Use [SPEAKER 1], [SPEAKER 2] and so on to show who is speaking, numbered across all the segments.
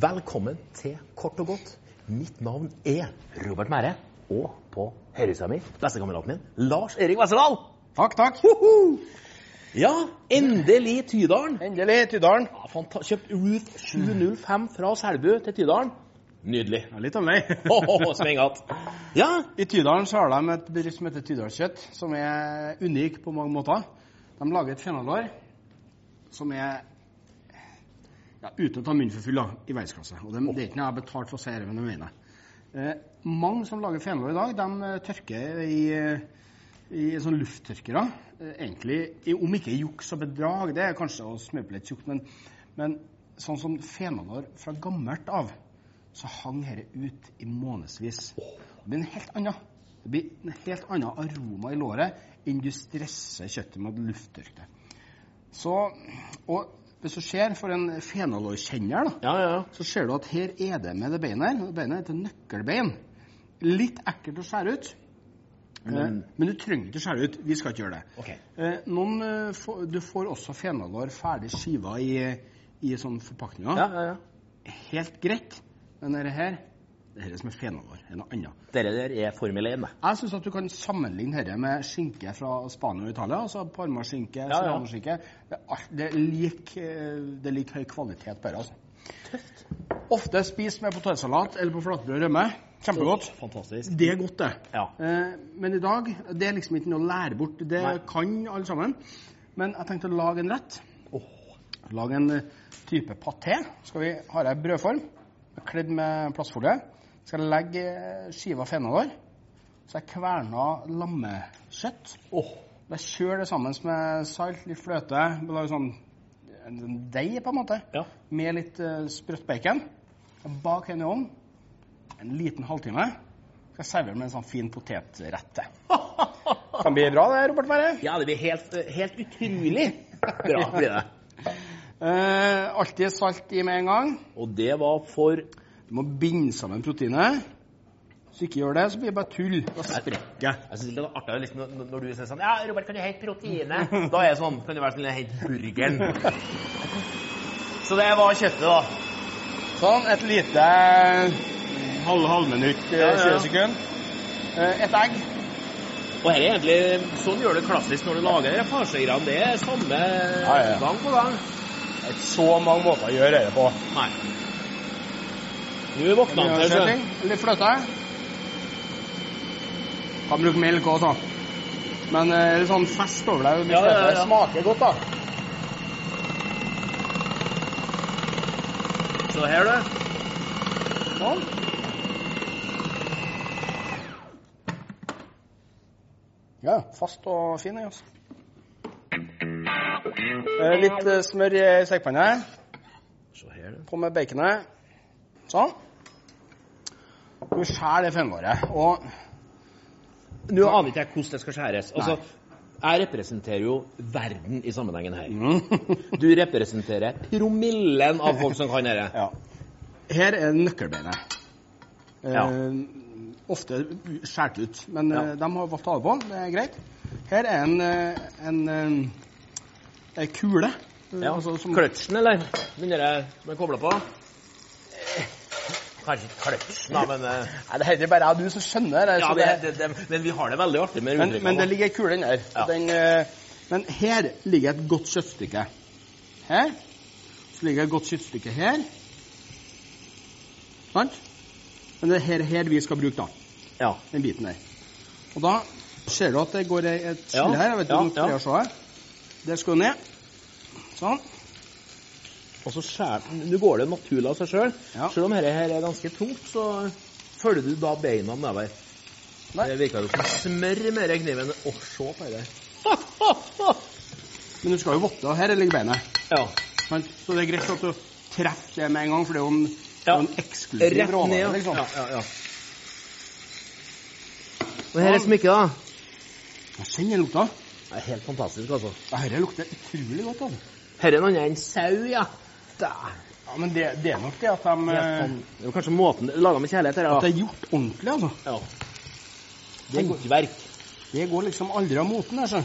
[SPEAKER 1] Velkommen til Kort og godt. Mitt navn er Robert Mære, og på høyresida mi, bestekameraten min, Lars Erik Westerdal.
[SPEAKER 2] Takk, takk.
[SPEAKER 1] Ja, endelig Tydalen.
[SPEAKER 2] Endelig, Tydalen.
[SPEAKER 1] Ja, fanta- Kjøpt Route 705 fra Selbu til Tydalen. Nydelig.
[SPEAKER 2] Ja, litt av meg.
[SPEAKER 1] Åhåhå, Svingat. Ja,
[SPEAKER 2] I Tydalen så har de et bedrift som heter Tydalskjøtt, som er unik på mange måter. De lager et fenalår som er ja, uten å ta munnen for full, da, i verdensklasse. Og det, det er ikke noe jeg har betalt for å si det, men jeg mener det. Eh, mange som lager fenalår i dag, de eh, tørker i, eh, i sånn lufttørkere. Eh, egentlig, i- om ikke juks og bedrag, det er kanskje å smøpe litt tjukt, men, men sånn som fenalår fra gammelt av, så hang dette ut i månedsvis. Det blir en helt annen. Det blir en helt annen aroma i låret enn du stresser kjøttet med å lufttørke det. Så, og hvis du ser for en fenalårkjenner, da,
[SPEAKER 1] ja, ja.
[SPEAKER 2] så ser du at her er det med det beinet her. Det Beinet heter nøkkelbein. Litt ekkelt å skjære ut. Men, men du trenger ikke å skjære ut. Vi skal ikke gjøre det.
[SPEAKER 1] Ok.
[SPEAKER 2] Eh, noen, eh, få- du får også fenalår ferdig skiva i, i sånne forpakninger
[SPEAKER 1] ja, ja, ja.
[SPEAKER 2] helt greit, men dette her det her er som er fenalår. Er noe annet.
[SPEAKER 1] Dere der er Formel 1, det.
[SPEAKER 2] Jeg syns at du kan sammenligne dette med skinke fra Spania og Italia. altså Parmaskinke,
[SPEAKER 1] ja.
[SPEAKER 2] serranoskinke. Det er alt- Det er lik, eh, det er lik høy kvalitet på dette. Altså. Ofte spist med potetsalat eller på flatbrød og rømme. Kjempegodt.
[SPEAKER 1] Fantastisk.
[SPEAKER 2] Det er godt, det.
[SPEAKER 1] Ja.
[SPEAKER 2] Eh, men i dag det er liksom ikke noe å lære bort. Det
[SPEAKER 1] Nei.
[SPEAKER 2] kan alle sammen. Men jeg tenkte å lage en rett.
[SPEAKER 1] Åh.
[SPEAKER 2] Lag en eh, type paté. Skal vi ha ei brødform kledd med plastfolie. Skal jeg legge eh, skiva fenalår. Så jeg kverna lammekjøtt.
[SPEAKER 1] Åh,
[SPEAKER 2] Jeg kjører det sammen med salt, litt fløte, lager sånn en en deig på en måte,
[SPEAKER 1] Ja.
[SPEAKER 2] med litt eh, sprøtt bacon. Jeg Bak henne i ovnen en liten halvtime. Skal jeg servere med en sånn fin potetrette. Kan bli bra det, Robert Mære.
[SPEAKER 1] Ja, det blir helt, eh, helt utrolig bra. blir det.
[SPEAKER 2] Eh, alltid salt i med en gang.
[SPEAKER 1] Og det var for
[SPEAKER 2] Du må binde sammen proteinet. Hvis du ikke gjør det, så blir det bare tull. Da sprekker jeg.
[SPEAKER 1] Jeg synes det er artig liksom, når- når du sier sånn Ja, Robert, kan du hente proteinet? Da er jeg sånn Kan du være snill å hente burgeren? Så det var kjøttet, da.
[SPEAKER 2] Sånn, et lite halv, halvminutt, eh,
[SPEAKER 1] Ja, ja, ja.
[SPEAKER 2] 20 sekunder. Eh, et egg.
[SPEAKER 1] Og her er egentlig Sånn gjør du klassisk når du lager de farsegreiene. Det er samme
[SPEAKER 2] ja.
[SPEAKER 1] gang på gang.
[SPEAKER 2] Det er ikke så mange måter å gjøre dette på.
[SPEAKER 1] Nei. Nå våkna han til sjøen.
[SPEAKER 2] Litt fløte. Kan bruke melk òg, sånn. Men eh, litt sånn fest over det. litt
[SPEAKER 1] Ja, ja, ja,
[SPEAKER 2] fløte. Det
[SPEAKER 1] ja.
[SPEAKER 2] smaker godt, da.
[SPEAKER 1] Så her, du.
[SPEAKER 2] Sånn. Ja, fast og fin, jeg, altså. Eh, Litt eh, smør i stekepanna.
[SPEAKER 1] Se her, du.
[SPEAKER 2] På med baconet. Sånn. Nå skjærer det fenåret. Og
[SPEAKER 1] Nå aner ikke jeg hvordan det skal skjæres. Altså, jeg representerer jo verden i sammenhengen her.
[SPEAKER 2] Mm.
[SPEAKER 1] Du representerer promillen av folk som kan dette.
[SPEAKER 2] Ja. Her er nøkkelbeinet. Eh,
[SPEAKER 1] Ja.
[SPEAKER 2] Ofte skåret ut, men
[SPEAKER 1] Ja.
[SPEAKER 2] eh, de har valgt å ha det på. Det er greit. Her er en, eh, en, eh, en kule. eh,
[SPEAKER 1] Ja,
[SPEAKER 2] altså som-
[SPEAKER 1] Kløtsjen, eller? Den der man kobler på? Kanskje ikke kløtsjen, da, men eh,
[SPEAKER 2] Nei, det heter bare jeg og du som skjønner det.
[SPEAKER 1] ja,
[SPEAKER 2] så
[SPEAKER 1] det,
[SPEAKER 2] det-
[SPEAKER 1] det, det, Men vi har det veldig artig med
[SPEAKER 2] men, men det ligger en kule inni der.
[SPEAKER 1] Ja.
[SPEAKER 2] Den, eh, men her ligger et godt kjøttstykke. Her. Så ligger et godt kjøttstykke her. Sant? Men det er her, her vi skal bruke, da.
[SPEAKER 1] Ja.
[SPEAKER 2] den biten der. Og da ser du at det går ei- et skille
[SPEAKER 1] Ja,
[SPEAKER 2] her. Jeg vet ikke
[SPEAKER 1] ja,
[SPEAKER 2] om du prøver
[SPEAKER 1] ja.
[SPEAKER 2] å se her. Der skal du ned. Sånn.
[SPEAKER 1] Og så skjærer Nå går det naturlig av seg sjøl.
[SPEAKER 2] Ja.
[SPEAKER 1] Selv om dette her er ganske tungt, så følger du da beina nedover.
[SPEAKER 2] Nei.
[SPEAKER 1] Det virker jo som smør med den kniven. Å, se på det der.
[SPEAKER 2] Men du skal jo votte, og her ligger beinet.
[SPEAKER 1] Ja.
[SPEAKER 2] Men, så det er greit at du treffer det med en gang, for det er jo en, det
[SPEAKER 1] Ja.
[SPEAKER 2] er jo en eksklusiv
[SPEAKER 1] Rett
[SPEAKER 2] råvare.
[SPEAKER 1] ned.
[SPEAKER 2] Liksom.
[SPEAKER 1] Ja, ja, ja. Og her er smykket, da.
[SPEAKER 2] Jeg kjenner lukta.
[SPEAKER 1] Det er helt fantastisk, altså.
[SPEAKER 2] Dette lukter utrolig godt. Altså.
[SPEAKER 1] Her er en annen enn sau, ja. Da.
[SPEAKER 2] Ja, Men det, det er nok det at de eh,
[SPEAKER 1] Det er jo kanskje måten det er laget med kjærlighet,
[SPEAKER 2] at det
[SPEAKER 1] her,
[SPEAKER 2] er gjort ordentlig, altså.
[SPEAKER 1] da. Ja. Det er håndverk.
[SPEAKER 2] Det går liksom aldri av moten, altså.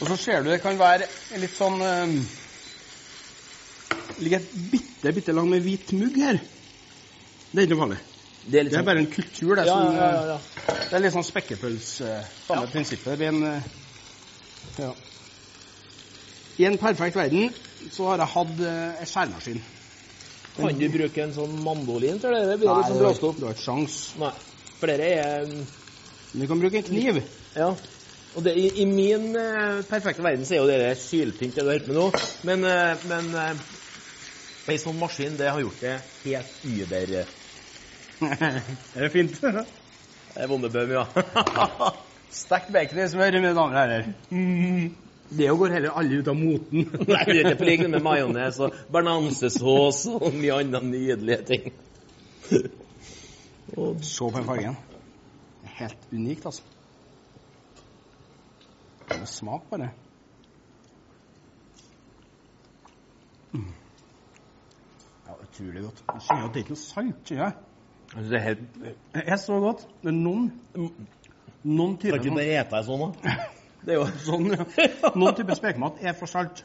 [SPEAKER 2] Og så ser du det kan være litt sånn eh, ligger et bitte, bitte lag med hvit mugg her. Det er ikke noe farlig.
[SPEAKER 1] Det er litt
[SPEAKER 2] Det er
[SPEAKER 1] sånn...
[SPEAKER 2] bare en kultur, det.
[SPEAKER 1] Ja,
[SPEAKER 2] som,
[SPEAKER 1] ja, ja, ja.
[SPEAKER 2] eh, Det er litt sånn spekkepølse eh, Samme
[SPEAKER 1] Ja.
[SPEAKER 2] prinsippet. Det blir en eh, ja. I en perfekt verden så har jeg hatt eh, en skjærmaskin.
[SPEAKER 1] Kan du bruke en sånn mandolin, tror du? Det blir litt sånn bråstopp.
[SPEAKER 2] du har ikke sjans.
[SPEAKER 1] Nei. For dere er um,
[SPEAKER 2] Men du kan bruke en kniv.
[SPEAKER 1] Ja. Og det, i, i min eh, perfekte verden så er jo dere syltynt, det du holder på med nå. Men, eh, men eh, ei sånn maskin, det har gjort det helt über
[SPEAKER 2] er det fint?
[SPEAKER 1] eh, Vondebøm, ja.
[SPEAKER 2] Stekt baconysmør, mine damer og herrer. Mm. Det jo går heller aldri ut av moten.
[SPEAKER 1] Nei, det er på lignende med majones og bearnaisesaus og mye andre nydelige ting. Og
[SPEAKER 2] Se på den fargen. Det er Helt unikt, altså. Det er smak på det. Mm. Ja, utrolig godt. Jeg kjenner at det er ikke noe salt, kjenner jeg.
[SPEAKER 1] Altså, det er helt
[SPEAKER 2] Det er så godt. Men noen noen
[SPEAKER 1] Kan
[SPEAKER 2] typer
[SPEAKER 1] ikke du bare ete deg sånn, da? Det er jo
[SPEAKER 2] sånn, ja. noen typer spekemat er for salt.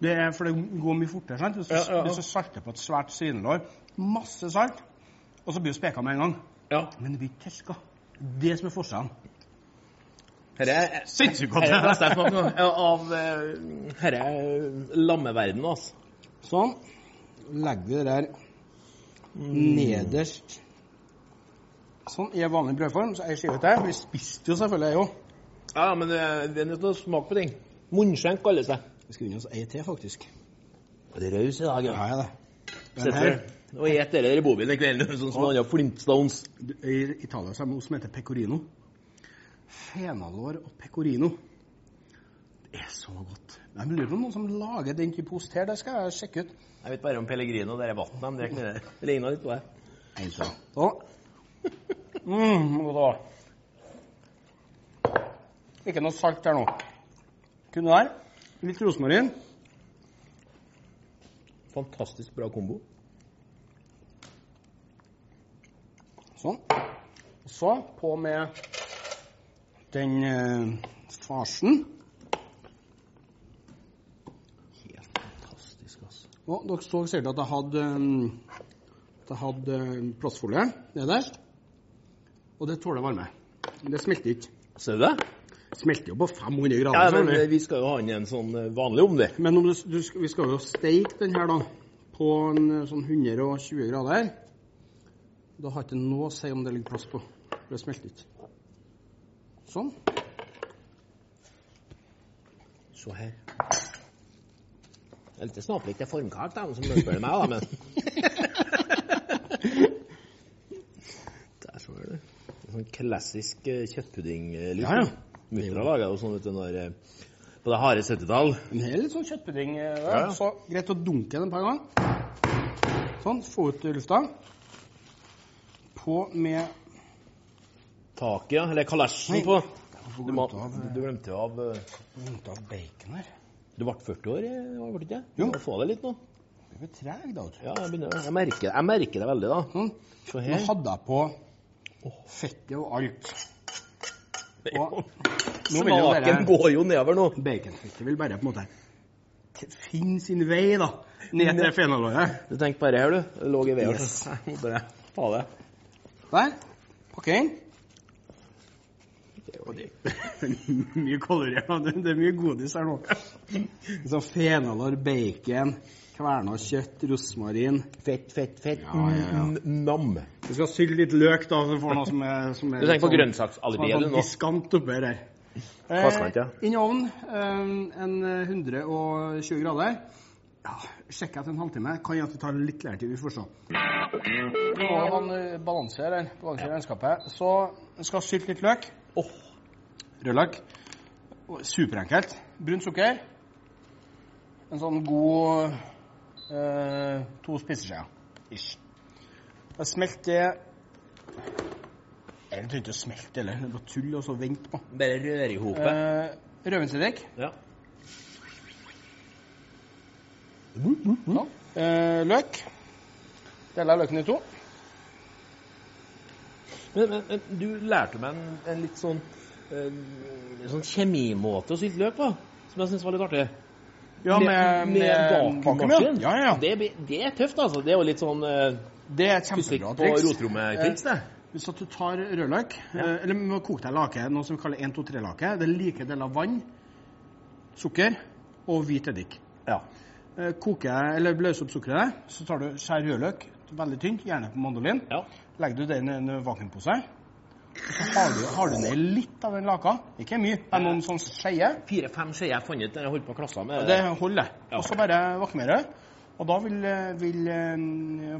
[SPEAKER 2] Det er for det går mye fortere. sant? Hvis du,
[SPEAKER 1] Ja, ja, ja.
[SPEAKER 2] hvis du salter på et svært svinelår, masse salt, og så blir du speka med en gang.
[SPEAKER 1] Ja.
[SPEAKER 2] Men det blir ikke tørka. Det er som er forskjellen.
[SPEAKER 1] Dette er
[SPEAKER 2] Sinnssykt
[SPEAKER 1] Her er det beste jeg har smakt nå. Ja, Av eh, her er lammeverdenen, altså.
[SPEAKER 2] Sånn. Legg det der nederst. Sånn i en vanlig brødform. Så ei skive til. Vi spiste jo selvfølgelig, jeg òg.
[SPEAKER 1] Ja, men det det er nødt til å smake på ting. Munnskjenk kalles det.
[SPEAKER 2] Vi skulle unne oss ei til, faktisk.
[SPEAKER 1] Det er raus i dag, ja.
[SPEAKER 2] Ja, ja, det. Den
[SPEAKER 1] Sitter
[SPEAKER 2] her,
[SPEAKER 1] og et dere der i bobilen i kveld, sånn som andre flintstones.
[SPEAKER 2] du- I Italia så er det noe som heter pecorino. Fenalår og pecorino. Det er så godt. Jeg lurer på om noen som lager den type ost her. Det skal jeg sjekke ut.
[SPEAKER 1] Jeg vet bare om Pellegrino og det er vann de drikker nede. Det ligner litt på det.
[SPEAKER 2] En til. Sånn. Mm, og da. Ikke noe salt her nå. Kunne der. Litt rosmarin.
[SPEAKER 1] Fantastisk bra kombo.
[SPEAKER 2] Sånn. Og så på med den eh, farsen.
[SPEAKER 1] Helt fantastisk, altså.
[SPEAKER 2] Og dere så sikkert at jeg hadde, eh, at jeg hadde eh, plastfolie nederst. Og det tåler varme. Men Det smelter ikke.
[SPEAKER 1] Ser du det?
[SPEAKER 2] Smelter jo på 500 grader.
[SPEAKER 1] Ja, men
[SPEAKER 2] selvfølgelig.
[SPEAKER 1] vi skal jo ha den i en sånn eh, vanlig om det.
[SPEAKER 2] Men om du, du, sk- vi skal jo steike den her da, på en eh, sånn 120 grader. Da har ikke noe å si om det ligger plass på. for Det smelter ikke. Sånn.
[SPEAKER 1] Se her. Det er litt snaplik til formkake, da, som spør meg, da, men Der så du det. Det er Sånn klassisk eh, kjøttpudding-lyd.
[SPEAKER 2] Ja, ja.
[SPEAKER 1] Mutter'n laga jo sånn vet du, når, eh, på det harde 70-tall.
[SPEAKER 2] Den her er litt sånn kjøttpudding. eh,
[SPEAKER 1] Ja, ja.
[SPEAKER 2] Så greit å dunke den et par ganger. Sånn. Få ut lufta. På med
[SPEAKER 1] Taket, ja, eller kalesjen
[SPEAKER 2] Nei.
[SPEAKER 1] på.
[SPEAKER 2] Hvorfor
[SPEAKER 1] Du, må,
[SPEAKER 2] glemte jeg av-
[SPEAKER 1] du glemte jo av eh,
[SPEAKER 2] Lukta av bacon her.
[SPEAKER 1] Du ble 40 år, eh, var du ikke? det?
[SPEAKER 2] Jo.
[SPEAKER 1] Du må Få deg litt nå.
[SPEAKER 2] Du er treg, da. vet du.
[SPEAKER 1] Ja, jeg, begynner, jeg, merker, jeg merker det veldig, da.
[SPEAKER 2] Sånn.
[SPEAKER 1] Se
[SPEAKER 2] Nå
[SPEAKER 1] her.
[SPEAKER 2] hadde jeg på fettet og alt. Og nå vil jo dere-
[SPEAKER 1] Smaken går jo nedover nå.
[SPEAKER 2] Baconfettet vil bare på en måte t- finne sin vei da, ned til fenalåret.
[SPEAKER 1] Du tenkte bare her, du. Det lå i veien.
[SPEAKER 2] Yes.
[SPEAKER 1] Jeg må bare ta det.
[SPEAKER 2] Der. Pakk inn. Det er mye kolorier. da. Det det er mye godis her nå. Så Fenalår, bacon, kverna kjøtt, rosmarin
[SPEAKER 1] Fett, fett, fett.
[SPEAKER 2] Ja, ja, ja.
[SPEAKER 1] N- Nam.
[SPEAKER 2] Du skal sylle litt løk, da, så du får noe som er, som er
[SPEAKER 1] Du tenker på
[SPEAKER 2] litt sånn-
[SPEAKER 1] grønnsaksalibiet
[SPEAKER 2] Sånn
[SPEAKER 1] du nå?
[SPEAKER 2] diskant oppi der.
[SPEAKER 1] Fastlagt, ja.
[SPEAKER 2] Inn i ovnen eh, en eh, 120 grader. Ja, Sjekk etter en halvtime. Kan gjøre at det tar litt lengre tid. Vi får se. Nå har han eh, balanser her, balanser i regnskapet. Så skal sylte litt løk.
[SPEAKER 1] Åh,
[SPEAKER 2] Rødløk. Og Superenkelt. Brunt sukker. En sånn god eh, to spiseskjeer. Ish. Da smelter det egentlig ikke å smelte heller. Det er bare tull og så vent på.
[SPEAKER 1] Bare røre i hopet.
[SPEAKER 2] Uh, Rødvinseddik.
[SPEAKER 1] Ja.
[SPEAKER 2] Ja. Eh, løk. Deler løken i to.
[SPEAKER 1] Men, men, men du lærte meg en, en litt sånn eh, en sånn kjemimåte å sylte løk på, som jeg syns var litt artig.
[SPEAKER 2] Ja, med, med, vakuummaskin. Ja, ja, ja.
[SPEAKER 1] Det, blir- det er tøft, altså. Det er jo litt sånn eh,
[SPEAKER 2] Det er et
[SPEAKER 1] fysikk
[SPEAKER 2] kjempebra
[SPEAKER 1] på
[SPEAKER 2] triks. Eh,
[SPEAKER 1] rotrommet-triks, det.
[SPEAKER 2] Hvis at du tar rødløk, eh, eller med kokt deg lake, noe som vi kaller 1-2-3-lake, det er like deler vann, sukker og hvit eddik.
[SPEAKER 1] Ja.
[SPEAKER 2] Eh, koker jeg, eller bløser opp sukkeret, så tar du skjær rødløk, veldig tynt, gjerne på mandolin.
[SPEAKER 1] ja.
[SPEAKER 2] Legger du det i en vakuumpose, så har du, har du ned litt av den laka. Ikke mye, men noen sånn skeier.
[SPEAKER 1] Fire-fem skjeer jeg fant ut da jeg holdt på å klasse med
[SPEAKER 2] Det holder.
[SPEAKER 1] Ja.
[SPEAKER 2] Og så bare vakuumere. Og da vil, eh, vil eh,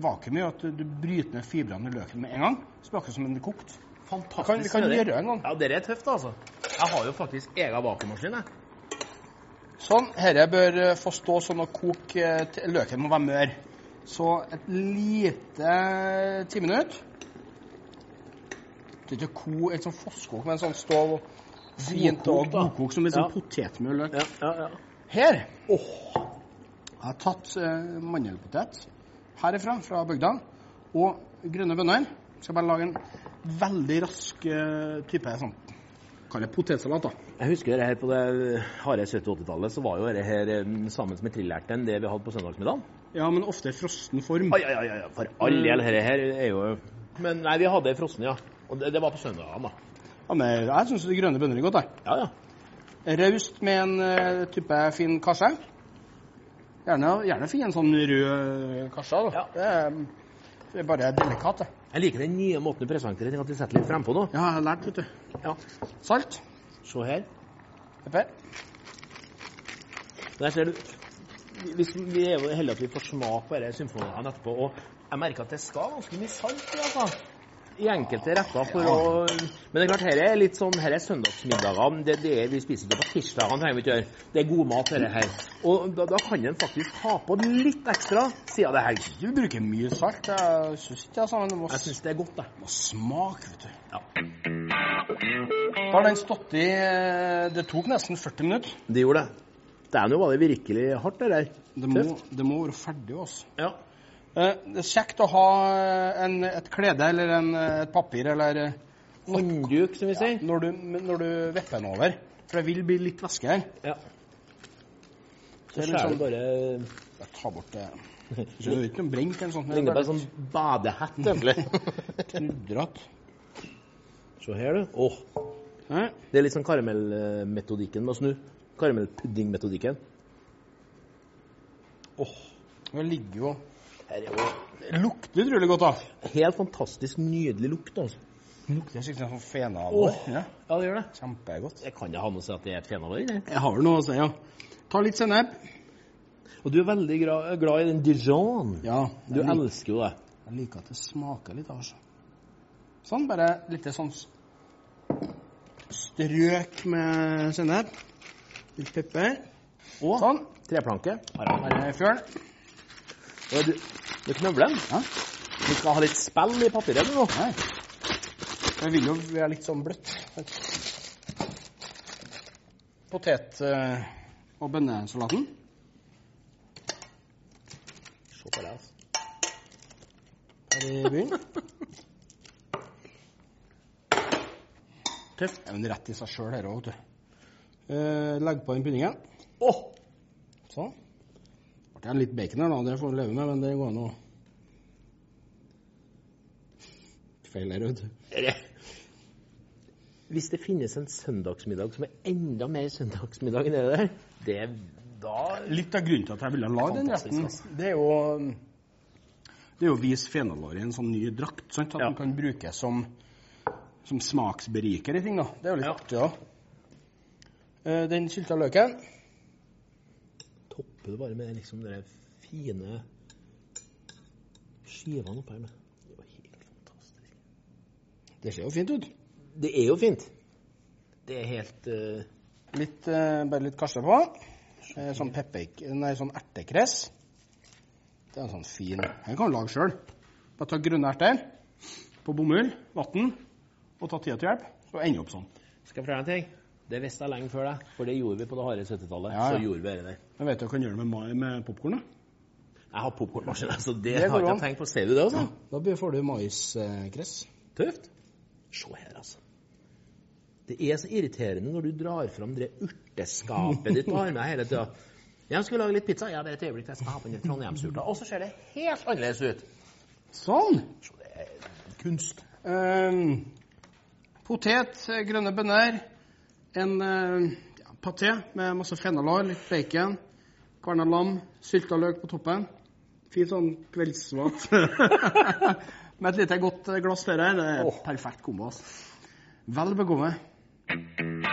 [SPEAKER 2] vakuumet gjøre at du bryter ned fibrene i løken med en gang. Så blir det akkurat som om den er kokt.
[SPEAKER 1] Fantastisk.
[SPEAKER 2] Kan- vi kan
[SPEAKER 1] snedig.
[SPEAKER 2] gjøre en gang.
[SPEAKER 1] Ja, dere er tøft, altså. Jeg har jo faktisk egen vakuummaskin, jeg.
[SPEAKER 2] Sånn. Dette bør eh, få stå sånn og koke eh, til Løken må være mør. Så et lite eh, ti minutter. Det er ikke ko, et sånn fosskok, men sånn stå fint og
[SPEAKER 1] Godkokt, da.
[SPEAKER 2] godkokt som en
[SPEAKER 1] Ja.
[SPEAKER 2] sånn potetmølløk.
[SPEAKER 1] Ja, ja, ja.
[SPEAKER 2] Her Jeg har tatt eh, mandelpotet herifra, fra bygda, og grønne bønner. Skal bare lage en veldig rask eh, type sånn Kall det potetsalat, da.
[SPEAKER 1] Jeg husker det her på det harde 70-80-tallet, så var jo det her eh, sammen med trillærten det vi hadde på søndagsmiddagen.
[SPEAKER 2] Ja, men ofte i frossen form.
[SPEAKER 1] Ai, ai, ai, ai, for all del, dette her er jo Men nei, vi hadde frossen, ja. Og det, det var på søndagene, da.
[SPEAKER 2] Ja, men jeg syns de grønne bønner er godt, jeg.
[SPEAKER 1] Ja, ja.
[SPEAKER 2] Raust med en eh, type fin kasse. Gjerne, gjerne fin en sånn rød kasse. da.
[SPEAKER 1] Ja.
[SPEAKER 2] Det, er, det er bare delikat, det.
[SPEAKER 1] Jeg liker den nye måten du presenterer ting at de setter litt frempå nå.
[SPEAKER 2] Ja, jeg har lært, vet du.
[SPEAKER 1] Ja.
[SPEAKER 2] Salt.
[SPEAKER 1] Se her.
[SPEAKER 2] Pepper.
[SPEAKER 1] Der ser du. Hvis vi vi er jo heldige at vi får smak på disse symfoniene etterpå. Og jeg merker at det skal ganske mye salt i, altså. I enkelte retter for å Men det er klart, her er litt sånn Her er søndagsmiddagene. Det, det er, vi spiser ikke på tirsdagene, trenger vi ikke gjøre. Det er god mat, dette her. Og da, da kan en faktisk ha på litt ekstra siden det er helg.
[SPEAKER 2] Du bruker mye salt. Jeg syns ikke jeg sa men det. Må,
[SPEAKER 1] Jeg syns det er godt, jeg.
[SPEAKER 2] må smake, vet du.
[SPEAKER 1] Ja.
[SPEAKER 2] Da har den stått i eh, Det tok nesten 40 minutter.
[SPEAKER 1] Det gjorde det. Dæven, nå var det virkelig hardt, det der.
[SPEAKER 2] Det må, det må være ferdig, altså.
[SPEAKER 1] Ja.
[SPEAKER 2] Eh, Det er kjekt å ha eh, en, et klede eller en, et papir eller eh,
[SPEAKER 1] Håndduk, som vi sier.
[SPEAKER 2] når du, når du vipper den over. For det vil bli litt væske her.
[SPEAKER 1] Ja. Så
[SPEAKER 2] Det er litt
[SPEAKER 1] skjærer
[SPEAKER 2] sånn-
[SPEAKER 1] du bare
[SPEAKER 2] Jeg tar bort det. Så det er Eh, ikke noe brent eller sånt.
[SPEAKER 1] Ligner på en sånn badehette, egentlig.
[SPEAKER 2] knudret.
[SPEAKER 1] Se her, du. Åh,
[SPEAKER 2] Nei,
[SPEAKER 1] Det er litt sånn karamellmetodikken med å snu. Karamellpuddingmetodikken. Åh,
[SPEAKER 2] Det ligger jo
[SPEAKER 1] Her er jo
[SPEAKER 2] Det lukter utrolig godt, da.
[SPEAKER 1] helt fantastisk nydelig lukt, altså.
[SPEAKER 2] Det lukter skikkelig sånn fenalår.
[SPEAKER 1] Åh,
[SPEAKER 2] Ja,
[SPEAKER 1] Ja, det gjør det.
[SPEAKER 2] kjempegodt.
[SPEAKER 1] Jeg kan jo ha med å si at det er et fenalår i det.
[SPEAKER 2] Jeg har vel noe å si, ja. Ta litt sennep.
[SPEAKER 1] Og du er veldig gra- glad i den dijon.
[SPEAKER 2] Ja.
[SPEAKER 1] Du
[SPEAKER 2] jeg, liker,
[SPEAKER 1] elsker jo det.
[SPEAKER 2] jeg liker at det smaker litt, altså. Sånn, bare litt sånn s- strøk med sennep. Litt pepper.
[SPEAKER 1] Og
[SPEAKER 2] Sånn.
[SPEAKER 1] treplanke.
[SPEAKER 2] Bare fjøl.
[SPEAKER 1] Og du, du knøvler den.
[SPEAKER 2] Ja.
[SPEAKER 1] Du skal ha litt spill i papiret du, nå.
[SPEAKER 2] Nei. Jeg vil jo være litt sånn bløtt. Potet- eh, og bønnesalaten.
[SPEAKER 1] Se på det, altså.
[SPEAKER 2] Er det byen?
[SPEAKER 1] Tøft.
[SPEAKER 2] Det er jo en rett i seg sjøl, dette òg, vet du. Eh, legg på den puddingen.
[SPEAKER 1] Åh!
[SPEAKER 2] Sånn. Ble det litt bacon her, da. Det får du leve med, men det går an å Feil her, vet du.
[SPEAKER 1] Dere. Hvis det finnes en søndagsmiddag som er enda mer søndagsmiddag enn det der, det da
[SPEAKER 2] Litt av grunnen til at jeg ville lage den
[SPEAKER 1] Fantastisk,
[SPEAKER 2] retten,
[SPEAKER 1] altså.
[SPEAKER 2] det er jo det er jo å vise fenalåret i en sånn ny drakt. sant? At
[SPEAKER 1] Ja.
[SPEAKER 2] den kan brukes som, som smaksberiker i ting. da. Det er jo litt
[SPEAKER 1] Ja.
[SPEAKER 2] artig òg. Den sylta løken
[SPEAKER 1] topper det bare med liksom de fine skivene oppe her. Med. Det var helt fantastisk.
[SPEAKER 2] Det ser jo fint ut.
[SPEAKER 1] Det er jo fint. Det er helt eh,
[SPEAKER 2] Litt, eh, bare litt karse på. Eh, Sånn pepper... Nei, sånn ertekress. Det er en sånn fin Den kan du lage sjøl. Bare ta grønne erter på bomull, vann, og tatt tida til hjelp, så ender opp sånn.
[SPEAKER 1] Skal jeg prøve en ting? Det visste jeg lenge før deg, for det gjorde vi på det harde 70-tallet.
[SPEAKER 2] Ja, ja.
[SPEAKER 1] Så gjorde vi det der.
[SPEAKER 2] Jeg vet du kan gjøre det med, ma- med popkorn, da.
[SPEAKER 1] Jeg har popkornmaskin, så det,
[SPEAKER 2] Det
[SPEAKER 1] har
[SPEAKER 2] går
[SPEAKER 1] jeg
[SPEAKER 2] an.
[SPEAKER 1] ikke tenkt på. Ser du det, altså?
[SPEAKER 2] Da blir- får du maiskress.
[SPEAKER 1] Tøft. Se her, altså. Det er så irriterende når du drar fram det urteskapet ditt og har med hele tida. Jeg skulle lage litt pizza. Ja, bare et øyeblikk, jeg skal ha på den Trondheimsurta. Og så ser det helt annerledes ut.
[SPEAKER 2] Sånn!
[SPEAKER 1] Så det er kunst.
[SPEAKER 2] Ehm, potet, eh, grønne bønner, en eh, ja, paté med masse fenalår, litt bacon, kverna lam, sylta løk på toppen. Fin sånn kveldsmat. med et lite godt eh, glass til her. Det er
[SPEAKER 1] Åh.
[SPEAKER 2] perfekt kombo. Altså. Vel bekommet.